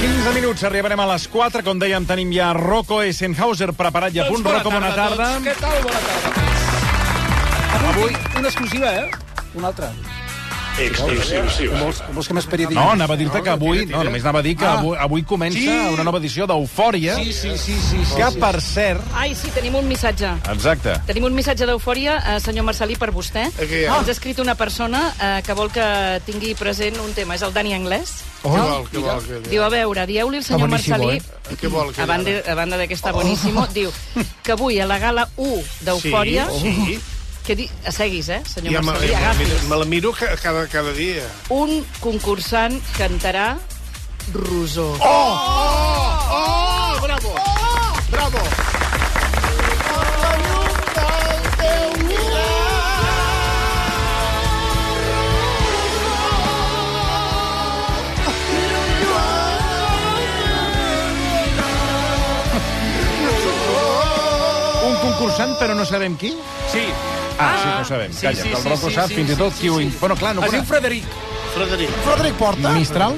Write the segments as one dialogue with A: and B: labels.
A: 15 minuts, arribarem a les 4. Com dèiem, tenim ja Rocco Eisenhauser preparat i a punt. Rocco, bona tarda.
B: a tots. Què tal? Bona tarda. Avui, una exclusiva, eh? Una altra.
C: Exclusiva.
B: Vols, vols que m'esperi dir?
A: No, anava a dir-te que avui... No, només anava a dir que
B: Ah.
A: avui, avui comença
B: Sí.
A: una nova edició d'Eufòria,
B: Sí, sí, sí, sí. sí,
A: que,
B: sí.
A: per cert...
D: Ai, sí, tenim un missatge.
A: Exacte.
D: Tenim un missatge d'eufòria, eh, senyor Marcelí, per vostè.
C: Aquí,
D: Ah.
C: ah.
D: Ens ha escrit una persona eh, que vol que tingui present un tema. És el Dani Anglès.
C: Què vol, què vol, què
D: Diu, a veure, dieu-li al senyor Marcelí,
C: vol? Què vol,
D: a
C: què
D: banda, a banda de que està boníssimo, diu que avui a la gala 1 d'Eufòria...
C: Sí, sí.
D: Que di... Seguis, eh, senyor
C: Ja me,
D: Marcelí,
C: ja me, la miro,
D: agafis.
C: me la miro ca- cada, cada dia.
D: Un concursant cantarà Rosó.
C: Oh! Oh! Oh! Bravo! Oh! Bravo!
A: Un concursant, però no sabem qui?
B: Sí.
A: Ah, sí, no ho sabem.
B: sí,
A: Calla,
B: sí,
A: que el
B: sí,
A: Rocco
B: sí,
A: sap
B: sí,
A: fins i
B: sí,
A: tot
B: sí,
A: qui ho...
B: sí.
A: in- Bueno, clar, no...
B: Es diu
A: conec.
B: Frederic.
C: Frederic.
A: Frederic Porta? Mistral?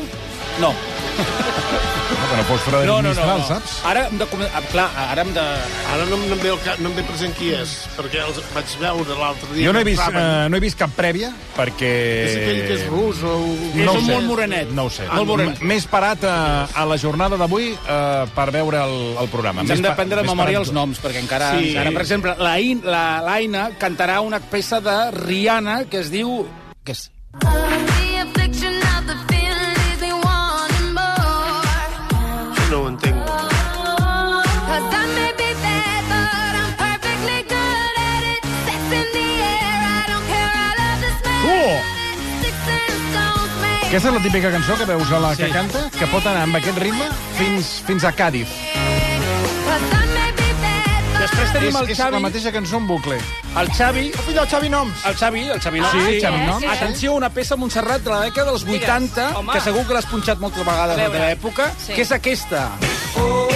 B: No,
A: No, que no fos Frederic
B: no, no, no.
A: Mistral,
B: no.
A: saps?
B: Ara hem de... comen- ah, Clar, ara hem de...
C: Ara no, em- no, em ve el, cap- no em ve present qui és, perquè els vaig veure l'altre dia.
A: Jo no he
C: que
A: vist,
C: entraven.
A: eh, no he vist cap prèvia, perquè...
C: És aquell que és rus o...
B: És
A: ho
B: un
A: sé.
B: molt morenet.
A: No ho sé.
B: Molt morenet.
A: M- M'he esperat a, a la jornada d'avui eh, per veure el, el programa.
B: Ens
A: M'he
B: hem de
A: espe-
B: prendre de
A: m'he
B: memòria
A: esperat-
B: els noms, perquè encara...
C: Sí.
B: Sí. Ara, per exemple, la In- la- l'Aina cantarà una peça de Rihanna que es diu... Què és?
E: The affliction of the feeling leaves me wanting more.
C: No ho entenc.
E: 'Cause I may be bad, but I'm perfectly good at it. Sex in the air, I don't care. I love the smell.
A: Oh!
E: Sticks and stones may
A: Aquesta és la típica cançó que veus a la sí. que canta, que pot anar amb aquest ritme fins, fins a Càdiz.
E: 'Cause I may be bad, but
B: Després tenim
A: És,
B: el
A: és
B: Xavi,
A: la mateixa cançó en bucle.
B: el Xavi,
A: Fill del Xavi Noms!
B: el Xavi, el Xavi, no?
A: Ah, Sí, Xavi
D: sí,
A: Noms.
D: sí.
B: Atenció, una peça Montserrat de la dècada dels 80,
D: home.
B: que segur que l'has punxat moltes vegades
D: A
B: de
D: veure.
B: l'època,
D: Sí.
B: que és aquesta.
D: Home,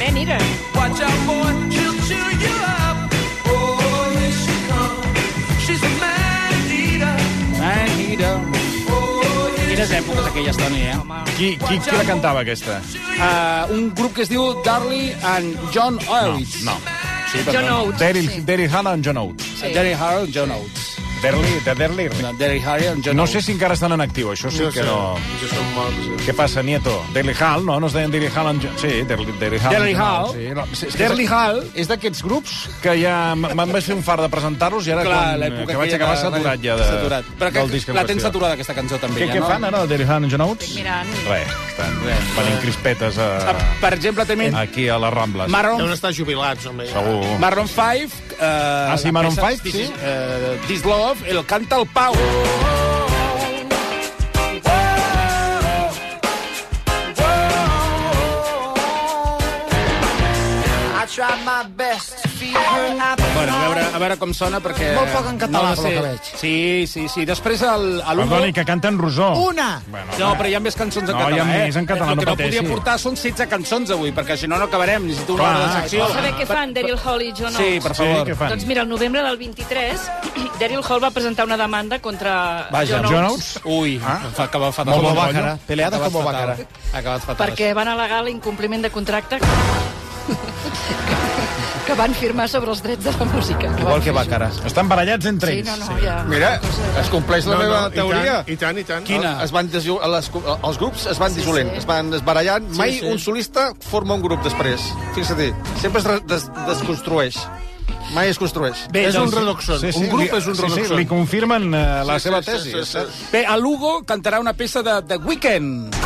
D: ben ira.
F: Watch out, boy, she'll chew you up. Oh, here she comes. She's a man eater.
B: Eh, mira. Quines èpoques aquelles, Toni, eh?
A: Qui, qui, qui la cantava, aquesta?
B: Uh, un grup que es diu Darley and John Oates.
A: No.
B: Sí,
D: John Oates.
A: Daryl,
D: sí.
A: Daryl Hannah and John Oates.
B: Sí. Darley Harrell and John Oates.
A: Derli, de Derli.
B: No, Darley Harrell and John
A: No
B: Oates.
A: sé si encara estan en actiu, això sí que no...
C: Jo som morts.
A: Què passa, Nieto? Derli Hall, no? No es deien Derli Hall... And... Jo- Sí, Derli, Derli Hall.
B: Derli Hall.
A: Sí, no, és- és-
B: Derli Hall.
A: És d'aquests grups que ja me'n vaig fer un fart de presentar-los i ara
B: Clar,
A: quan,
B: l'època
A: que vaig
B: aquella
A: acabar
B: de-
A: saturat ja de,
B: Saturat. Però
A: del disc
B: que,
A: en
B: la tens
A: qüestió.
B: saturada, aquesta cançó, també.
A: Què,
B: ja,
A: què
B: no?
A: fan ara, Derli Hall and John Oates?
D: Mirant.
A: Res, estan
B: Res.
A: venint crispetes a,
B: Ah, Per exemple, també
A: aquí a les Rambles.
B: Maroon,
C: Deuen estar jubilats, home. ja.
A: Segur.
B: Maroon 5... Eh, ah,
A: Oh. sí, Maroon 5, sí.
B: Eh, This Love, el canta el Pau.
F: I tried my best to feed her
G: Ah,
F: apple
B: Bueno, a veure, a veure com sona, perquè...
H: Molt poc en català,
B: la
H: pel
B: sé.
H: que veig.
B: Sí, sí, sí. Després el, a l'Ugo...
A: Perdoni, que canten Rosó.
H: Una.
A: Bueno,
B: No, però hi ha més cançons en
A: No,
B: català,
A: hi ha
B: eh?
A: més en català,
B: El
A: no
B: que no
A: pateixi.
B: podia portar són 16 cançons avui, perquè si no, no acabarem. Necessito una
A: Clar,
B: hora de secció.
D: Vols saber què fan Daryl Hall i John
B: Sí,
D: Oates?
B: per
A: Sí,
B: favor.
A: què fan?
D: Doncs mira, el novembre del 23, Daryl Hall va presentar una demanda contra
B: Vaja,
D: John
A: John
D: Oates.
A: Oates?
B: Ui,
A: Ah.
B: fa acabar fatal.
A: Molt
B: Acabat
A: bàcara.
B: fatal.
H: Peleades
B: Acabat
H: com
B: fatal.
H: bàcara.
B: Acabat fatal.
D: perquè van al·legar l'incompliment de contracte que van firmar sobre els drets de la música. Que van
H: Vol que va, cara.
A: Estan barallats entre
D: Sí,
A: ells.
D: no, no, ja.
I: Mira, es compleix la
C: No,
I: meva
C: no, i
I: teoria.
C: tant, I tant, i tant.
B: Quina?
I: Es van desu... les... Els grups es van dissolent, es van esbarallant. Mai
B: sí.
I: un solista forma un grup després. Fixa't, sempre es re- des desconstrueix. Mai es construeix.
B: Bé,
C: És un
B: doncs,
C: redoxon.
A: Sí, sí,
C: un grup
A: li,
C: és un
A: sí, sí,
C: redoxon.
A: li confirmen eh, la
I: Sí,
A: seva
I: sí,
A: tesi.
I: sí, sí, sí.
B: Bé, a Lugo cantarà una peça de The Weeknd.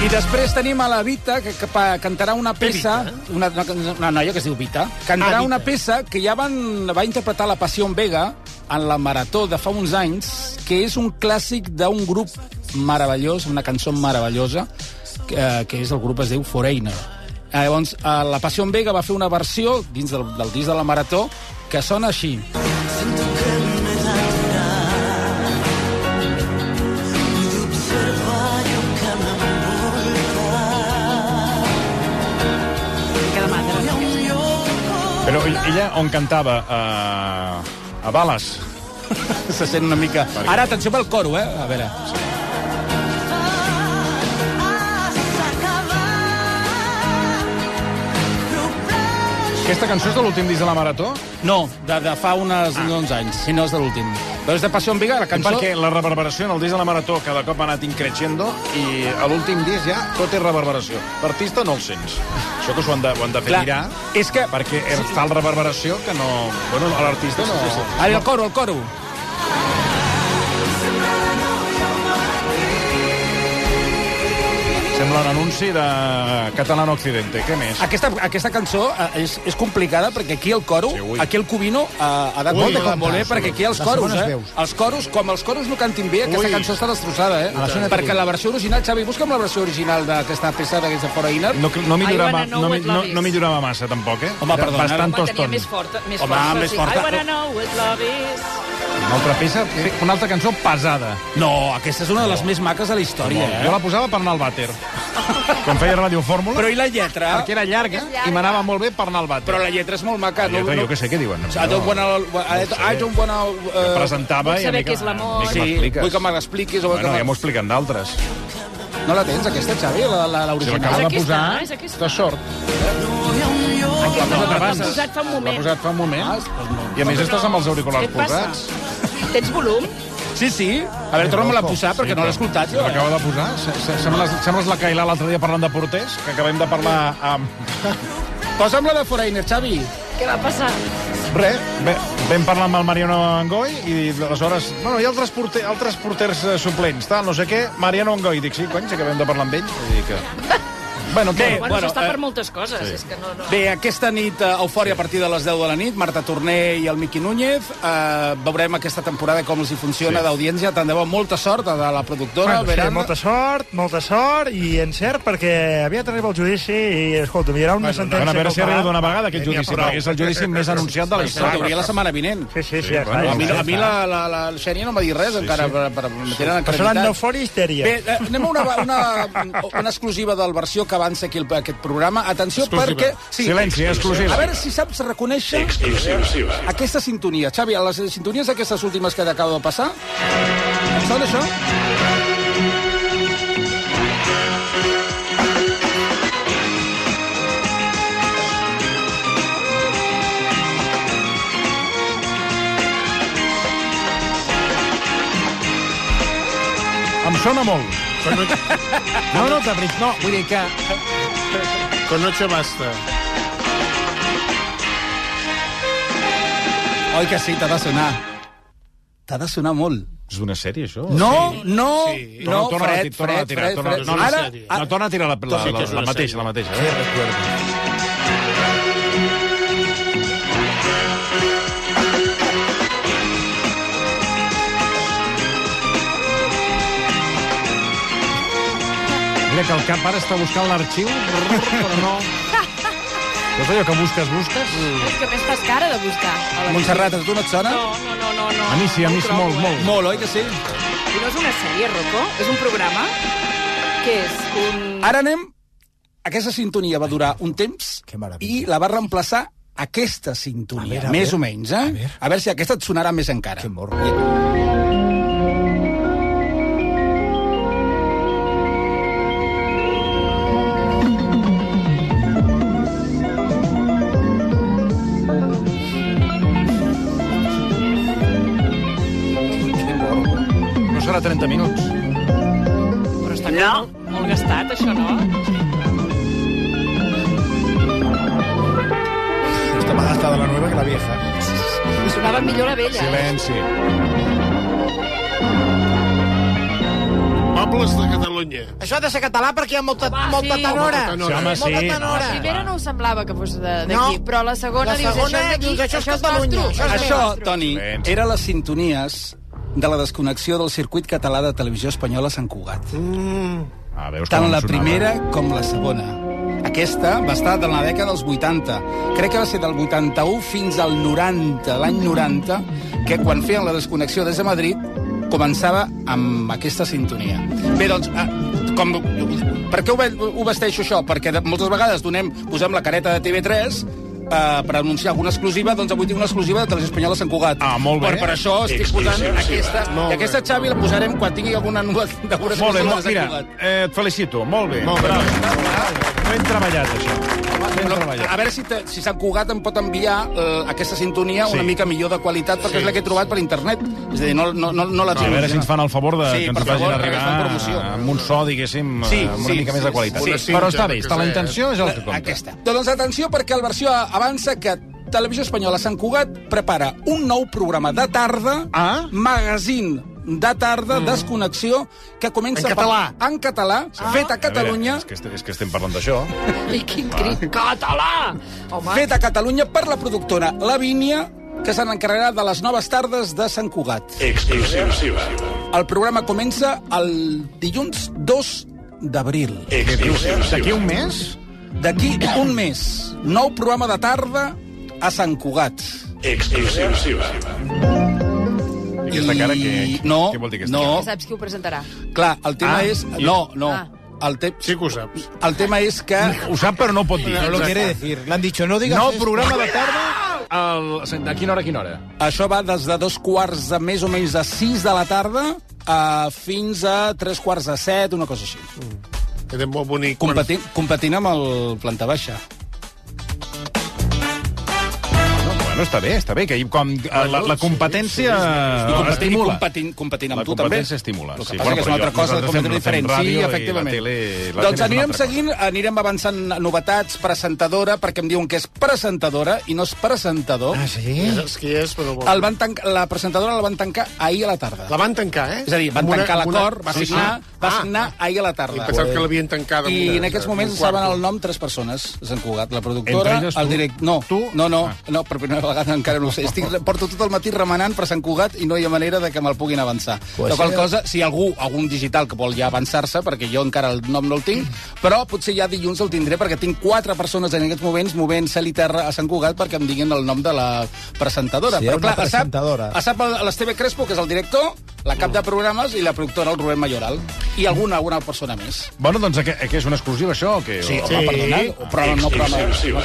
B: I després tenim a la Vita, que, que pa- cantarà una peça... Una, una, una noia que es diu Vita. Cantarà
C: Ah, Vita.
B: una peça que ja van, va interpretar la Passió en Vega en la Marató de fa uns anys, que és un clàssic d'un grup meravellós, una cançó meravellosa, que, eh, que és el grup es diu Foreigner. Eh, llavors, eh, la Passió en Vega va fer una versió dins del, del disc de la Marató que sona així.
A: sigui, ella on cantava? Uh, a Bales.
B: Se sent una mica... Ara, atenció pel coro, eh? A veure.
A: Aquesta cançó és de l'últim disc de la Marató?
B: No, de, de fa unes ah. 11 anys. Si no, és de l'últim. Però és de Passió en Viga, la
A: Cançó?
B: cançó...
A: Perquè la reverberació en el disc de la Marató cada cop ha anat increixendo i a l'últim disc ja tot és reverberació. L'artista no el sents. Això que s'ho han, de- ho han de fer
B: Clar,
A: mirar,
B: és que...
A: perquè sí. tal reverberació que no... Bueno, a l'artista no...
B: Ara, Ah, el coro, el coro.
A: Sembla un anunci de Catalán Occidente. Què més?
B: Aquesta, aquesta cançó eh, és, és complicada perquè aquí el coro,
A: Sí,
B: sí,
A: ui.
B: aquí el Covino eh, ha de
H: Ui,
B: molt de
H: la
B: com voler,
H: cançó.
B: perquè aquí els
H: Les
B: coros,
H: segones
B: eh?
H: veus.
B: Els coros, com els coros no cantin bé, aquesta
A: Ui.
B: cançó està destrossada, eh?
H: la zona de
B: perquè
H: perill.
B: la versió original, Xavi, busca'm la versió original d'aquesta peça d'aquesta Fora Inner.
A: No, no, millorava,
D: wanna know
A: no,
D: what
A: mi- no,
D: love is.
A: no millorava massa, tampoc, eh?
B: Home,
A: Era
B: perdona,
A: Bastant
D: Home, tenia
A: toston.
D: més forta. Més
B: Home,
D: forta,
B: més
D: sí.
B: forta.
D: I wanna know what love is.
A: Una altra peça, sí, una altra cançó pesada.
B: No, aquesta és una de les més maques de la història,
A: Jo
B: eh?
A: la posava per anar al vàter. Quan feia Radio Fórmula,
B: Però i la lletra?
A: perquè era llarga, i m'anava molt bé per anar al vàter.
B: Però la lletra és molt maca.
A: Jo, jo què sé què diuen.
B: I don't wanna... I
A: sé.
B: don't wanna...
A: Que
B: eh,
A: presentava
D: vull
A: i
D: saber
A: a mi
D: què és l'amor.
A: a mi que
B: Sí,
A: m'expliques.
B: vull que me l'expliquis. o vull
A: Bueno,
B: que
A: ja m'ho
B: me-
A: expliquen d'altres.
B: No la tens, aquesta, Xavi, la- la- l'original?
A: l'acabo
D: És
A: de
D: aquesta,
A: posar
D: és aquesta.
A: De sort.
D: Aquesta
A: posat
D: no,
A: abans.
D: l'has posat fa un
A: L'ha
D: moment.
A: posat fa un
B: Ah,
A: moment.
B: doncs no.
A: I a més estàs amb els
D: Què
A: auriculars
D: et passa?
A: posats.
D: Tens volum?
B: Sí, sí. A veure, torna-me-la a posar, perquè no l'he escoltat, jo.
A: L'acaba de posar. Se- se- Sembles, sembles la Cailà l'altre dia parlant de porters, que acabem de parlar amb...
B: eh? Posa'm la de Foreigner, Xavi.
D: Què va passar?
A: Res, bé, vam parlar amb el Mariano Angoy i aleshores... Bueno, hi ha altres, porter, altres porters eh, suplents, tal, no sé què. Mariano Angoy, dic, sí, cony, si acabem de parlar amb ell. Vull dir que... Bueno, què?
D: Bueno,
B: Bueno,
D: bueno s'està
B: eh,
D: per moltes coses. És que no, no.
B: Bé, aquesta nit, eh, eufòria a partir de les 10 de la nit, Marta Torné i el Miqui Núñez. Eh, veurem aquesta temporada com els hi funciona
A: Sí.
B: d'audiència. Tant de bo, molta sort a la
J: Bueno,
B: productora, bueno,
J: sí,
B: Verana.
J: molta sort, molta sort i encert, perquè aviat arriba el judici i, escolta, hi haurà una sentència...
A: Bueno, a veure si
J: que el farà.
A: arriba d'una vegada aquest
J: N'hi ha
A: judici,
J: prou.
A: perquè és el judici més anunciat de la
B: S'ha
A: història.
B: d'obrir la setmana vinent.
J: Sí, sí, sí, ja està,
A: bueno,
J: ja
B: A mi,
J: està.
B: a mi la, la, la, Xènia no m'ha dit res, sí, encara,
A: sí.
B: sí. per, per, me
J: Però
B: tenen
J: seran
B: acreditat.
J: d'eufòria i histèria.
B: Bé, eh, anem a una, una, una exclusiva del versió que avança aquí el, aquest programa. Atenció,
A: Exclusiva.
B: perquè...
A: Silenci, exclusiva.
B: A veure si saps reconèixer
K: Exclusiva.
B: aquesta sintonia. Xavi, a les sintonies aquestes últimes que t'acabo de passar, em sona això?
A: Em sona molt. No, no, de veritat, no. Vull dir que...
C: Con noche basta.
B: Oi que sí, t'ha de sonar. T'ha de sonar molt.
A: És una sèrie, això?
B: No, no,
A: Sí.
B: no,
A: Torna, torna,
B: Fred,
A: torna,
B: Fred,
A: tira,
B: Fred,
A: torna,
B: Fred.
A: no,
C: no,
B: Ara,
C: sèrie.
A: Ah,
B: a-
A: no, torna a tirar la, la,
C: Sí,
A: la,
C: que és
A: la
C: una
A: mateixa,
C: sèrie.
A: la mateixa. Eh? Mira que el cap ara està buscant l'arxiu, però no... No és allò que busques, busques?
D: És que a més fas cara de buscar. a la
B: Montserrat, a tu no et sona?
D: No, no, no, no, no.
A: A mi sí, a mi sí, molt, molt.
B: Molt, oi que sí?
D: I no és una sèrie, Rocco? És un programa? Què és? Un...
B: Ara anem... Aquesta sintonia va durar un temps
H: Que meravella.
B: i la va reemplaçar aquesta sintonia,
H: A veure, a
B: més
H: veure,
B: o menys, eh? A
H: veure.
B: veure. si aquesta et sonarà més encara.
H: Que morro.
A: No serà 30 minuts.
D: Però està no. molt gastat, això, no?
H: Está más gastada la nueva que la vieja.
D: Sonava millor la vella. eh?
A: Silenci.
C: Pobles de Catalunya.
G: Això ha de ser català perquè hi ha molta,
D: Home,
G: molta
D: sí.
G: tenora.
C: Molta
A: Sí, home, sí.
G: Molta tenora.
D: La primera no ho semblava que fos de- d'aquí,
G: No.
D: però la segona,
G: La segona
D: dius,
G: dius,
D: això
G: això
D: és
G: és
D: d'aquí,
G: Catalunya,
D: nostre.
G: això és
B: Això,
D: nostre.
B: Toni,
A: Silenci.
B: era les sintonies de la desconnexió del circuit català de televisió espanyola a Sant Cugat.
A: Ah, veus com
B: Tant
A: em
B: la
A: sonava.
B: primera com la segona. Aquesta va estar de la dècada dels 80. Crec que va ser del 81 fins al 90, l'any 90, que quan feien la desconnexió des de Madrid començava amb aquesta sintonia. Bé, doncs, ah, com, per què ho, ve- ho vesteixo això? Perquè de- moltes vegades donem, posem la careta de TV3 eh, per anunciar alguna exclusiva, doncs avui tinc una exclusiva de Televisió Espanyola a Sant Cugat. Ah,
A: molt bé.
B: Per, per això estic
A: Exclusiva.
B: posant aquesta.
A: Molt
B: I aquesta, Xavi, la posarem quan tingui alguna novetat d'alguna
A: Molt bé,
B: exclusiva
A: molt,
B: de Sant
A: mira,
B: Cugat.
A: eh, et felicito, molt bé.
B: Molt bé.
A: Bravo. Ben treballat, això.
B: Però, a veure si, te, si Sant Cugat em pot enviar eh, aquesta sintonia
A: Sí.
B: una mica millor de qualitat, perquè
A: Sí.
B: és la que he trobat per internet. És a dir, no, no, no, no la
A: A
B: tinc.
A: veure si ens fan el favor de
B: Sí,
A: que ens
B: per
A: ho facin
B: favor, perquè fan promoció.
A: arribar amb un so, diguéssim,
B: Sí,
A: eh, amb una
B: sí,
A: mica més de
B: sí,
A: qualitat.
B: sí.
A: Però està bé, està la intenció, és el que compta.
B: Aquesta. Doncs atenció, perquè el versió avança que Televisió Espanyola Sant Cugat prepara un nou programa de tarda, ah? magazín de tarda, mm. desconnexió, que comença...
A: En català.
B: Per, en català, ah? fet a Catalunya...
A: A veure, és, que, est- és que estem parlant d'això.
B: I quin crit! Català! Home. Fet a Catalunya per la productora Lavínia, que se n'encarregarà de les noves tardes de Sant Cugat.
K: Exclusiva.
B: El programa comença el dilluns 2 d'abril.
K: D'aquí
A: un mes?
B: D'aquí un mes. Nou programa de tarda a Sant Cugat.
K: Exclusiva.
A: I aquesta cara, què,
B: no,
A: què vol dir aquesta
B: no,
D: Ja saps qui ho presentarà.
B: clar, el tema
A: Ah,
B: és...
A: i-
B: No, no.
D: Ah.
B: El te... Sí
C: que ho saps.
B: El tema és que...
A: Ho sap, però no pot dir.
H: No lo quiere decir. Le han dicho, no digas
A: No,
H: esto.
A: programa de tarda... El... A quina hora, a quina hora?
B: Això va des de dos quarts de més o menys de sis de la tarda a fins a tres quarts de set, una cosa així.
C: Era molt bonic.
B: Competi competint amb el planta baixa.
A: Bueno, està bé, està bé, que com, eh, la, la competència...
C: Ah,
B: I competint,
A: estimula.
B: competint, competint amb
A: La
B: tu també.
A: competència estimula,
B: El que
A: sí.
B: passa
A: Bueno,
B: que és una
A: però
B: altra cosa,
A: nosaltres fem-
B: completament
A: fem
B: diferent. Sí,
A: ràdio i la
B: efectivament.
A: tele- la tele és
B: doncs
A: una
B: anirem
A: altra
B: seguint, anirem avançant novetats, presentadora, perquè em diuen que és presentadora i no és presentador. Ah,
H: sí?
C: Ja saps qui és, però...
B: El van tancar, la presentadora la van tancar ahir a la tarda.
C: La van tancar, eh?
B: És a dir, van
C: Amb una-
B: tancar
C: amb una-
B: l'acord, va
C: Sí, sí.
B: signar, va
C: Ah.
B: signar ahir a la tarda.
C: I pensava que l'havien tancada amb
B: I
C: una-
B: en aquests
C: un
B: moments
C: quarto.
B: saben el nom tres persones, Sant Cugat, la
C: Entre
B: productora,
C: elles tu? Ah.
B: el direct... No, tu? no, no, no, per primera vegada encara no ho sé. Estic, porto tot el matí remenant per Sant Cugat i no hi ha manera de que me'l puguin avançar.
H: Pues
B: de qual
H: sí.
B: cosa, si algú, algun digital que vol ja avançar-se, perquè jo encara el nom no el tinc, però potser ja dilluns el tindré, perquè tinc quatre persones en aquests moments movent cel i terra a Sant Cugat perquè em diguin el nom de la presentadora.
H: Sí, hi ha una
B: però clar, a sap,
H: presentadora. Mm.
B: a sap el- l'Esteve Crespo, que és el director, la cap de programes, i la productora, el Rubén Mayoral. I alguna, alguna persona més.
A: Bueno, doncs, que, que és una exclusiva, això, o què?
B: Sí,
A: O-
B: home, perdona, però no programa... No, que vols
A: Sí,
B: que
A: no,
B: sigui
A: no,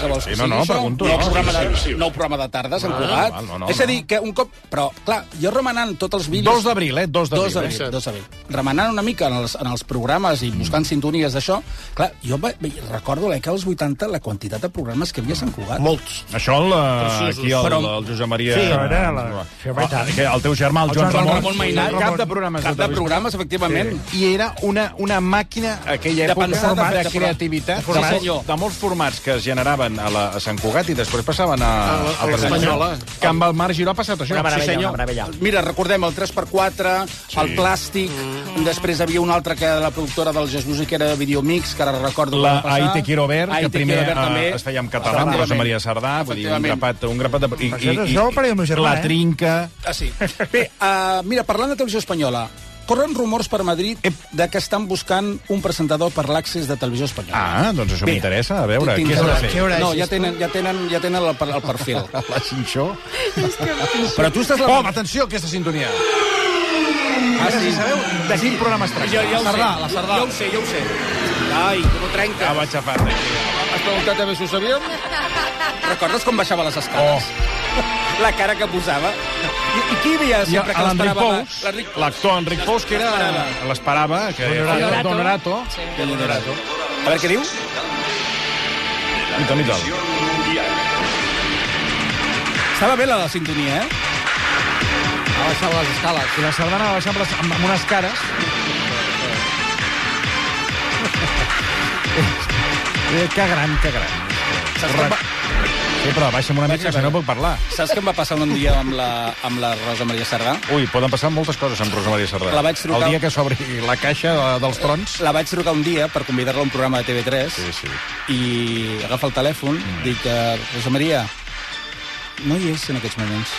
B: això?
A: pregunto.
B: Nou
A: no.
B: programa de, nou programa de tardes, en
A: Val,
B: Cugat.
A: val, no, no,
B: és a dir, que un cop... Però, clar, jo remenant tots els
A: 2
B: vídeos...
A: d'abril, eh? 2 d'abril.
B: Dos d'abril,
A: eh? Mm.
B: dos d'abril. Remenant una mica en els, en els programes i buscant sintonies d'això, clar, jo va, va, recordo eh, l'època dels 80 la quantitat de programes que hi havia a Sant Cugat.
C: Molts.
A: Això el, eh,
B: Preciosos.
A: aquí el,
B: Però-
A: el Josep Maria...
J: Sí, era la...
A: Ah, que el teu germà, el,
B: El
A: Joan,
B: Joan
A: Ramon,
B: Ramon Mainat.
A: cap de programes.
B: Cap de
A: televisió.
B: programes, efectivament.
A: I era una, una màquina, aquella
B: De
A: època,
B: pensar, de-
A: de,
B: de-
A: creativitat,
B: Sí,
A: de, mol-
B: senyor.
A: de molts formats que es generaven a, la, a Sant Cugat i després passaven a,
C: A la- a l'Espanyola.
A: Que amb el Marc Giró ha passat això.
B: Sí, senyor. Mira, recordem el 3x4, sí. el plàstic, mm. després havia un altre que era la productora del Jesús i que era Videomix, que ara recordo
A: La
B: quan va
A: Ahí
B: passar.
A: te quiero ver,
B: Ahí
A: que
B: te
A: primer
B: quiero ver, també.
A: eh, es feia en català, amb
B: Efectivament.
A: Rosa Maria Sardà, vull dir, un
B: Efectivament.
A: grapat, un grapat de... I,
J: Això- això ho faria el meu germà,
A: la
J: eh?
A: trinca...
B: Ah, sí. Bé, uh, mira, parlant de televisió espanyola, corren rumors per Madrid de que estan buscant un presentador per l'Accés de Televisió Espanyola.
A: Ah, doncs això
B: Bé,
A: m'interessa, a veure, què
B: Tinc-
A: has de fer?
H: Què hora és,
B: No, ja
H: sisplau?
B: tenen, ja tenen, ja tenen el, per- el perfil.
A: La Xinxó?
B: Però tu estàs...
A: Oh, atenció, aquesta sintonia!
B: ah, sí.
A: Sabeu de quin programa es tracta? Sardà, la Sardà.
B: ho sé, ja ho sé. Ai, com ho trenca.
A: Ah, va xafar-te.
I: Has preguntat també si ho sabíem?
A: Ah.
B: Recordes com baixava les escales? Oh. La cara que posava. I, i qui hi havia
A: I
B: sempre que
A: l'Enric
B: l'esperava?
A: Pous, l'actor Enric Pous, que era... L'esperava, que era
D: Honorato.
A: Donorato.
D: Sí.
A: Donorato.
B: A veure què diu.
A: Mica, mica.
B: Estava bé la, la sintonia, eh?
H: Ha baixat les escales.
A: I la sardana va baixar amb, les, amb, amb unes cares. Eh, que gran, que gran.
B: Saps que, em va,
A: Sí, però baixa'm una mica,
B: Vaja,
A: que si no puc parlar.
B: saps que em va passar un dia amb la, amb la Rosa Maria Sardà?
A: Ui, poden passar moltes coses amb Rosa Maria Serrat.
B: La vaig trucar-
A: El dia que s'obri la caixa de- dels trons...
B: La vaig trucar un dia per convidar-la a un programa de TV3
A: Sí, sí.
B: i agafa el telèfon, mm. dic, eh, Rosa Maria, no hi és en aquests moments.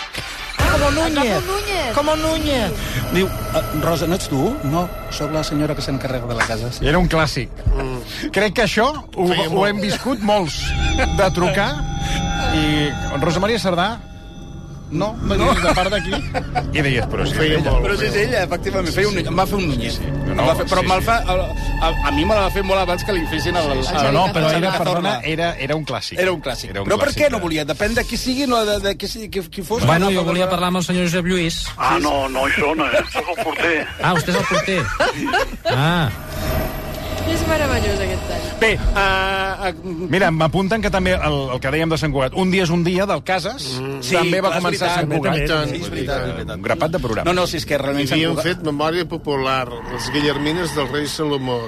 G: Como Núñez. Como Núñez.
B: Diu, "Eh, Rosa, no ets tu? No, sóc la senyora que s'encarrega de la casa. Sí.
A: Era un clàssic. Crec que això ho, ho hem viscut molts, de trucar. I Rosa Maria Sardà,
I: No, no, no. de part d'aquí.
A: I deies, però
I: si
A: sí,
I: és ella.
B: Però sí, és ella, efectivament. Feia un, em va fer un Núñez. Em va fer, però
A: sí,
B: me'l fa, el, a, a mi me l'ha fet molt abans que li fessin el... el-
A: No, no, però era,
B: Angélica
A: perdona,
B: Zorna.
A: era, era un clàssic.
B: Ah, Era un clàssic. eh.
A: Era un
B: però per
A: clàssic.
B: què no volia? Depèn de qui sigui, no de, de, qui, sigui, qui, qui fos.
L: Bueno, jo volia parlar amb el senyor Josep Lluís.
K: Ah, no, no hi són, eh? Sóc el porter.
L: Ah, vostè és el porter. Ah.
M: És meravellós aquest tall.
A: Bé,
B: ah.
A: uh, uh, mira, m'apunten que també el, el que dèiem de Sant Cugat, un dia és un dia, del Cases, mm.
B: Sí,
A: també va
B: clar, és
A: començar
B: veritat,
A: Sant Cugat.
B: també, també.
A: Sí, és
B: veritat, és
A: veritat. Un grapat de programa.
B: No, no, si és que realment
C: Hi
B: s'han
C: havien
B: colgat.
C: fet memòria popular, les Guillermines del rei Salomó,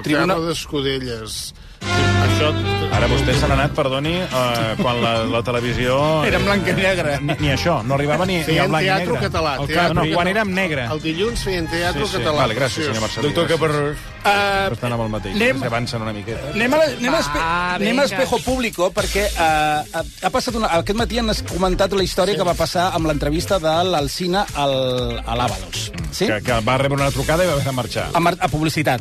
A: Tribuna-
C: Tribuna... Terra d'Escudelles... Això...
A: Ara vostès se n'han anat, perdoni, eh, quan la, la televisió...
C: Era en blanc i
A: negre. Ni, ni això, no arribava ni, ni a
C: Feien
A: blanc i
C: teatre
A: negre.
C: català.
A: El,
C: teatre
A: no, quan
C: català.
A: érem negre.
C: El dilluns feien teatre
A: Sí, sí.
C: català.
A: Vale, gràcies, senyor Marcelí,
I: Doctor Caparrós.
A: Però estan amb el mateix.
B: anem-
A: Anem... Avancen una miqueta.
B: Anem, a, la- anem, a, espe
A: Va,
B: anem a
A: vinga.
B: Espejo Público perquè uh, ha, ha passat una, aquest matí han comentat la història sí. que va passar amb l'entrevista de l'Alcina al, a l'Avalos. Sí?
A: Que, que va rebre una trucada i va haver de marxar.
B: A, mar- a publicitat.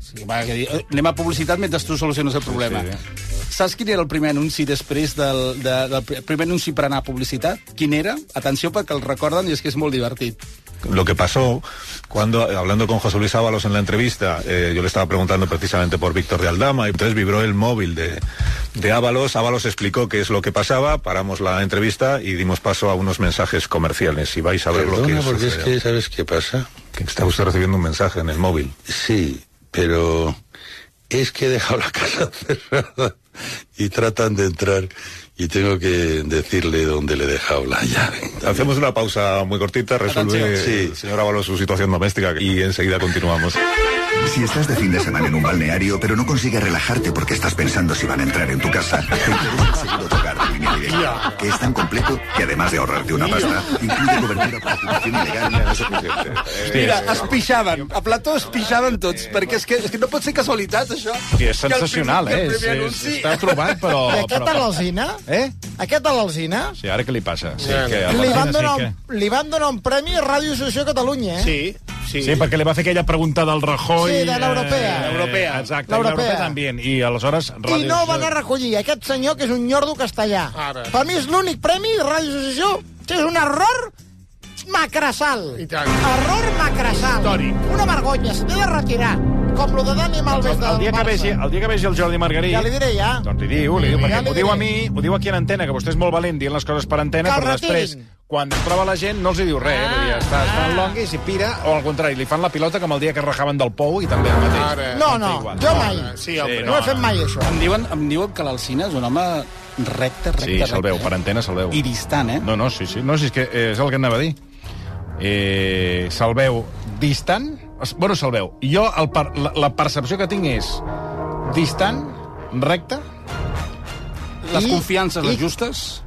B: Sí, va, que, di- eh, anem a publicitat mentre tu soluciones el problema. Sí, sí, Saps quin era el primer anunci després del, de, del pr- primer anunci per anar a publicitat? Quin era? Atenció perquè el recorden i és que és molt divertit.
N: Lo que pasó cuando, eh, hablando con José Luis Ábalos en la entrevista, eh, yo le estaba preguntando precisamente por Víctor de Aldama y entonces vibró el móvil de, de Ábalos. Ábalos explicó qué es lo que pasaba, paramos la entrevista y dimos paso a unos mensajes comerciales. Y vais a ver lo que
O: Perdona, porque es
N: sucedió.
O: que, ¿sabes qué pasa?
N: Está usted recibiendo un mensaje en el móvil.
O: Sí, pero es que he dejado la casa cerrada y tratan de entrar y tengo que decirle dónde le he dejado la llave.
N: Hacemos una pausa muy cortita, resuelve
O: Atención.
N: el señor Ábalos su situación doméstica y enseguida continuamos.
P: Si estás de fin de semana en un balneario, pero no consigues relajarte porque estás pensando si van a entrar en tu casa, te interesa el seguro tocar de línea directa, que es tan completo que además de ahorrarte una pasta, incluye cobertura para ocupación ilegal.
B: Mira, es pixaven. A plató es pixaven tots, perquè és que, és que no pot ser casualitat, això.
A: Sí, és sensacional, eh? És- és- està trobat, però-
G: I aquest
A: però-
G: a l'alzina?
A: Eh?
G: Aquest a l'alzina?
A: Sí, ara què li passa? Sí,
G: Li
A: que a
G: van,
A: l'Alcina
G: donar
A: sí que...
G: un, li van donar un premi a Ràdio Associació Catalunya, eh?
A: Sí. sí, perquè li va fer aquella pregunta del Rajoy...
G: Sí, de l'europea.
A: L'europea. Exacte, i
G: L'europea.
A: l'europea també. I aleshores...
G: I no el van a recollir aquest senyor que és un nyordo castellà.
A: Ara.
G: Per mi és l'únic premi de Ràdio Associació que és un error macrasal. I tant. Error macrasal. Històric. Una vergonya, s'ha de retirar. Com lo de Dani Malves del
A: Doncs El dia, que
G: Barça.
A: vegi, el dia que vegi el Jordi Margarí...
G: Ja li diré, ja.
A: Doncs li diu, li diu, perquè
G: Ja li
A: m'ho diu a mi,
G: diré.
A: ho diu aquí en antena, que vostè és molt valent dient les coses per antena,
G: Que el
A: però després,
G: retirin.
A: quan es troba la gent, no els hi diu res. Ah, dir, està, es fan longuis i pira, o al contrari, li fan la pilota com el dia que es rajaven del pou i també el mateix.
G: Ara. No, no, jo mai.
A: Sí, home,
G: no, no he fet mai això.
B: Em diuen, em diuen que l'Alcina és un home recte, recte,
A: Sí, se'l
B: recte.
A: veu, per antena se'l veu.
B: I distant, eh?
A: No, no, sí, sí. No, sí, és que eh, és el que anava a dir. Eh, se'l veu distant... Es- Bueno, se'l veu. Jo, el per, la, la percepció que tinc és distant, recte...
B: Les confiances, les justes...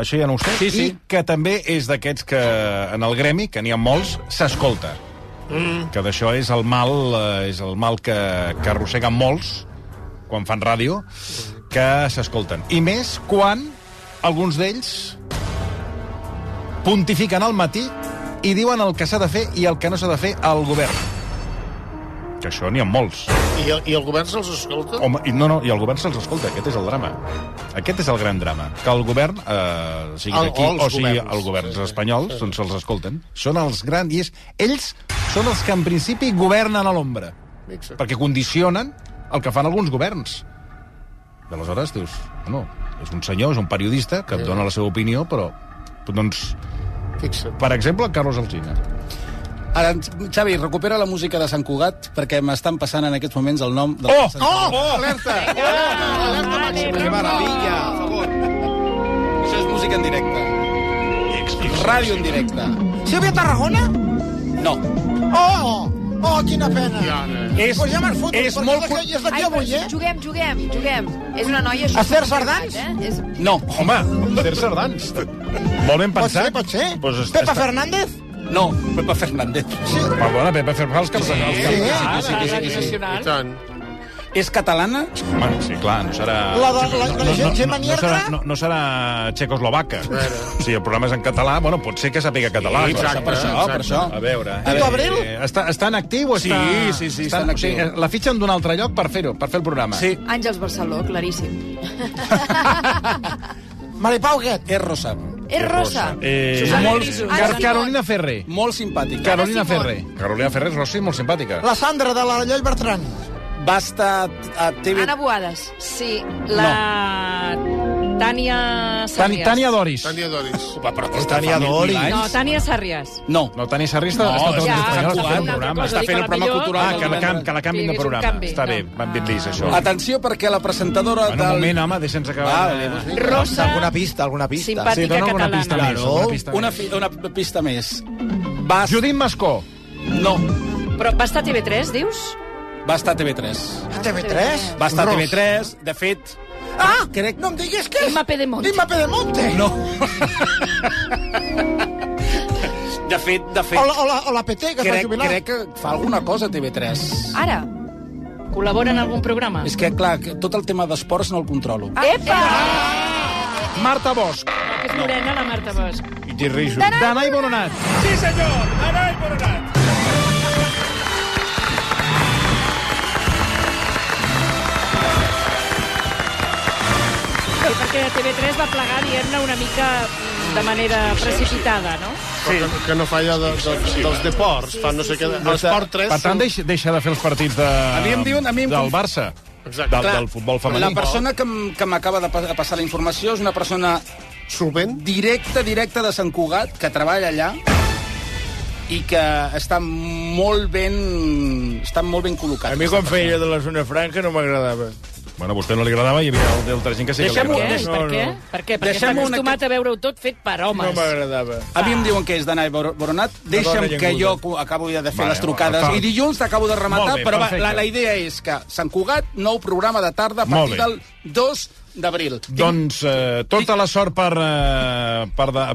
A: Això ja no ho sé.
B: Sí, sí.
A: I que també és d'aquests que, en el gremi, que n'hi ha molts, s'escolta. Mm. Que d'això és el mal, eh, és el mal que, que arrosseguen molts quan fan ràdio, que s'escolten. I més quan alguns d'ells pontifiquen al matí i diuen el que s'ha de fer i el que no s'ha de fer al govern. Que això n'hi ha molts.
C: I, el- I el govern se'ls escolta?
A: Home, i no, no, i el govern se'ls escolta, aquest és el drama. Aquest és el gran drama, que el govern, eh, sigui
C: El-
A: d'aquí,
C: o els
A: o sigui
C: governs.
A: el govern sí, espanyol, sí, doncs se'ls escolten. Són els grans, i és, ells són els que en principi governen a l'ombra,
C: Fixa't.
A: perquè condicionen el que fan alguns governs. I aleshores dius, no, és un senyor, és un periodista, que et dona la seva opinió, però, doncs,
C: Fixa't.
A: per exemple, Carlos Alsina.
B: Ara, Xavi, recupera la música de Sant Cugat perquè m'estan passant en aquests moments el nom... Del
A: Oh!
B: Sant
A: Oh!
B: Cugat.
A: Alerta!
B: Alerta màxima! Que meravella, a favor. Això és música en directe. Ràdio en directe.
G: Sílvia Tarragona?
B: No.
G: Oh, oh, quina pena.
B: És-
G: pues ja me'n foto,
B: és
G: perquè
B: molt
G: és d'aquí- És d'aquí avui, eh?
M: Juguem, juguem, juguem. És una noia...
G: A Cerç Ardans?
M: Eh? És...
B: No.
A: Home, Ter Sardans. Molt ben pensat. Doncs
G: Pot ser, pot ser.
A: Pues
G: Pepa Fernández?
B: No, Pepa Fernández.
G: Sí.
A: Va, bona, Pepa Fernández, que els sí,
B: I tant. És catalana?
A: Bueno, sí, clar, Ah, no serà...
B: La de- la- la
A: no, no,
B: Gemma
A: no, no,
B: Nierga?
A: serà, no, no serà txecoslovaca. Si el programa és en català, bueno, pot ser que sàpiga català.
B: Sí,
A: clar.
B: exacte, per això, per això.
A: A veure...
B: I tu, Abril?
A: eh, està, està en actiu o
B: Sí,
A: està...
B: sí, sí,
A: està
B: està en
A: o sigui,
B: actiu.
A: La fitxen d'un altre lloc per fer-ho, per fer el programa.
B: Sí.
M: Àngels Barceló, claríssim.
G: Maripau Guet.
B: És Rosa.
Q: És rosa.
A: Eh,
B: Susana
A: molt,
B: Griso.
A: Car
B: Ana
A: Carolina Ferrer.
B: Molt simpàtica.
A: Carolina Ferrer. Carolina Ferrer és rosa i molt simpàtica.
R: La Sandra de la Lloll Bertran.
B: Va estar a TV...
I: Ana Boades. Sí, la... No. Tània
A: Tani,
I: Sarrias.
A: Tània Doris.
C: Tània Doris.
A: Opa, però
I: Tània Doris. No, Tània Sarrias.
A: No, no Tania Sarrias no,
I: No,
A: està,
I: ja,
A: està,
I: ha
A: està fent
I: jugat,
A: un programa.
I: cosa,
A: Està
I: dic,
A: fent
I: a
A: el
I: la
A: programa
I: millor-
A: cultural. Ah, que la,
B: del
A: can, que la
B: divendres.
A: canvin de
B: Sí,
A: programa.
B: és un canvi,
A: Està bé,
B: no.
A: van ben vist, això.
B: Atenció, perquè la presentadora
A: Bueno, un
B: del...
A: moment, home, deixa'ns acabar.
B: Vale, doncs vinga.
I: Rosa,
S: Alguna pista, alguna pista.
I: simpàtica
B: Sí, dona alguna
I: catalana.
B: pista més,
S: Claro.
B: alguna pista Una, fi- una pista més. Vas... Judit Mascó. No,
I: Però va estar a TV3, dius?
B: va estar a TV3.
R: A
S: ¿Este
R: TV3?
B: Va estar a
R: Ros.
B: TV3, de fet...
R: Ah, Crec... no em diguis què és. Imma
I: Pedemonte.
R: Imma Pedemonte.
B: No. De fet, de fet...
R: O la, o la, o la PT, que es va
B: crec,
R: jubilar.
B: crec que fa alguna cosa a TV3.
I: Ara? Col·labora en algun programa?
B: És que, clar, que tot el tema d'esports no el controlo.
I: Ah, Epa!
A: Marta Bosch.
I: Que és morena, la Marta Bosch.
A: Girrijo. Danai Boronat.
T: Sí, senyor! Arai Boronat!
I: Sí, perquè TV3 va plegar, diguem-ne, una mica mm, de manera precipitada, no?
C: Sí. Que, que no falla de, de, dels deports. Fa no sé què...
A: No està-
C: L'esport 3...
A: Per tant, deixa, deixa de fer els partits de,
B: A mi em diuen- a mi em
A: del
B: conf-
A: Barça.
C: Exacte.
A: Del, del futbol femení.
B: La persona que m- que m'acaba de pa- de passar la informació és una persona...
C: Solvent?
B: Directa, directa de Sant Cugat, que treballa allà i que està molt ben... està molt ben col·locat.
P: A mi quan feia allò de la zona franca no m'agradava.
A: Bueno, a vostè no li agradava i hi havia el- altra gent que sí que li
B: Deixem-ho-
A: agradava.
B: deixem-
I: Per
B: No,
I: què?
B: no.
I: Per què? Perquè està
B: Deixem una-
I: acostumat a veure-ho tot fet per homes.
G: Pues,
P: m'agradava.
B: A mi em diuen que és d'anar Boronat. Deixa'm
P: dona
B: que jo
P: llenguda.
B: cu- acabo ja de fer
P: Vale,
B: les trucades.
P: val.
B: I dilluns t'acabo de rematar,
P: Molt bé,
B: però va,
P: perfecte.
B: la, la idea és que Sant Cugat, nou programa de tarda a
A: Molt
B: partir
A: bé.
B: del 2 d'abril.
A: Doncs eh, tota la sort per... Eh, per de...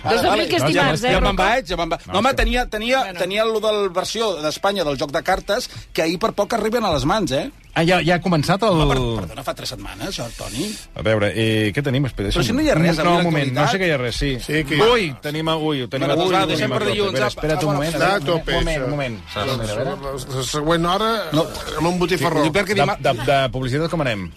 B: Ara,
A: d'abril, que és
B: ja
A: dimarts,
B: me'n-
A: eh,
B: Ja me'n
A: Rocco?
B: vaig, ja me'n vaig. No, home, tenia, tenia, tenia el de la versió d'Espanya del joc de cartes que ahir per poc arriben a les mans, eh?
A: Ah, ja, ja ha començat el...
B: Perdona, fa tres setmanes, jo, Toni.
A: A veure, eh, què tenim? Espera,
B: Però
A: deixa'm-
B: si no hi ha res,
A: No,
B: avui
A: un
B: la
A: moment, no
B: actualitat.
A: sé que hi ha res, sí.
B: Sí, que hi ha.
A: Ui, tenim... Ui, ho tenim...
B: Bueno,
A: ui,
B: doncs va,
A: ho
B: deixem
A: tenim a
B: per
A: tope.
B: dilluns,
A: Espera,
B: apa,
A: Espera't un
B: apa,
A: moment.
B: apa,
A: eh?
B: a tope,
A: Un moment,
B: això.
A: un moment.
C: La, la següent hora, no. amb un botifarró.
A: Sí, de, de, de publicitat com anem?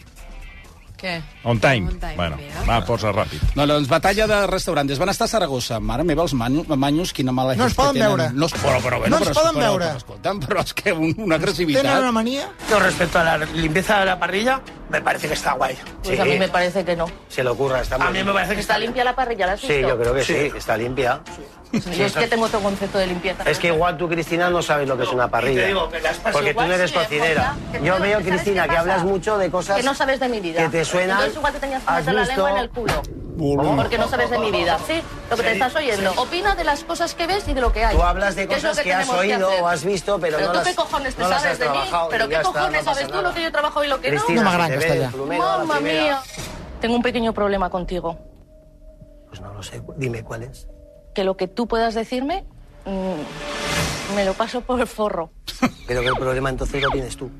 I: Què?
A: On time.
I: On time, eh?
A: bueno,
I: mira.
A: va, posa ràpid.
B: No, doncs, batalla de restaurantes. Van estar a Saragossa. Mare meva, els manyos, manyos quina mala
R: No ens
B: gest que
R: poden
B: tenen.
R: veure.
B: No, es, però, però, bueno,
R: No ens
B: però,
R: poden
B: però,
R: veure.
B: Però, escolta'm, però és que un, una agressivitat...
R: Tenen una manía.
G: Con respecto a la limpieza de la parrilla, me parece que está guay.
D: Pues a mí me parece que no.
G: Se le ocurra, está
D: muy
G: A mí
D: bien.
G: me parece que
D: ¿Está
G: está
D: limpia la parrilla? ¿La has
G: Sí,
D: visto?
G: yo creo que sí, eh, está limpia.
D: Yo es que tengo otro concepto de limpieza.
G: Es que igual tú, Cristina, no sabes lo que es una parrilla.
D: te digo que las pasas
G: porque tú
D: igual,
G: no eres
D: sí, es
G: cocinera.
D: verdad. Que te
G: Yo
D: digo que
G: veo,
D: sabes
G: Cristina,
D: qué
G: que hablas
D: pasa.
G: mucho de cosas
D: Que no sabes de mi vida.
G: que te suenan.
D: Entonces igual te tenías que
G: ¿Has
D: meter la
G: visto?
D: lengua en el culo.
G: Volumen.
D: Porque no sabes de mi vida, ¿sí? Lo que te
G: Sí,
D: estás oyendo.
G: sí.
D: Opina de las cosas que ves y de lo que hay.
G: Tú hablas de
D: ¿Qué es lo
G: cosas que, has
D: tenemos
G: oído
D: hacer?
G: o has visto, pero,
D: Pero
G: no
D: tú
G: las
D: qué cojones te
G: no las
D: sabes
G: has
D: de mí,
G: trabajado
D: pero
G: y
D: qué
G: ya está,
D: cojones
G: no pasa
D: sabes tú
G: nada.
D: lo que yo trabajo y lo que no.
G: Cristina, No me se agrada, te ve castellano. el plumero a la
D: Mamma
G: primera.
D: mía. Tengo un pequeño problema contigo.
G: Pues no lo sé, dime cuál es.
D: Que lo que tú puedas decirme, mm, me lo paso por el forro.
G: Creo que el problema entonces lo tienes tú.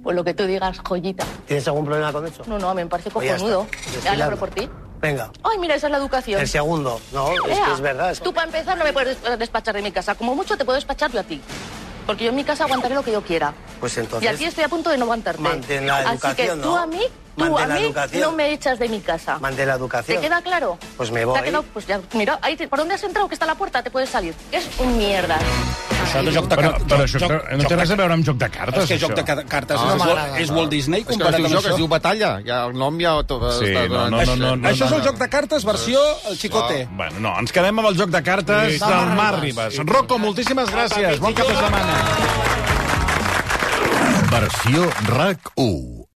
D: Pues lo que tú digas, joyita.
G: ¿Tienes algún problema con eso?
D: No, no, me parece
G: Pues ya está.
D: cojonudo. Ya
G: Desfilando.
D: lo por ti.
G: Venga,
D: Ay, mira, esa es la educación.
G: el segundo. No, es que
D: Ea,
G: es verdad. es-
D: Tú, para empezar, no me puedes des- despachar de mi casa. Como mucho te puedo despachar yo a ti. Porque yo en mi casa aguantaré lo que yo quiera.
G: Pues
D: y aquí
G: entonces,
D: estoy a punto de no aguantarte.
G: mantén la
D: Así que
G: educación,
D: tú
G: ¿no?
D: a mí, tú
G: Mantén la
D: a mí,
G: educación.
D: no me echas de mi casa.
G: mantén la
D: ¿Te
G: educación.
D: queda claro?
G: Pues me
D: ¿Te
G: voy.
D: ha quedado? Pues ya, mira, ahí te- ¿por dónde has entrado? Que está la puerta, te puedes salir. Es un mierda.
B: Això de joc de
A: Però,
B: cartes...
A: però això està- no té res a veure amb joc de cartes,
B: És que joc
A: això.
B: de ca- cartes
A: Ah,
B: és,
A: no
B: Walt-
A: m'agrada.
B: és Walt Disney
A: És que
B: comparat
A: es diu
B: amb
A: joc,
B: això.
A: es diu
S: Batalla, ja el nom ja...
A: Sí, no, no, no, no, no,
B: Això és
A: no,
B: el
A: no.
B: joc de cartes versió el Xicote.
A: Bueno, no, ens quedem amb el joc de cartes
B: Sí.
A: del Mar Ribas. Rocco, moltíssimes gràcies. Bon cap de setmana.
U: Versió RAC 1.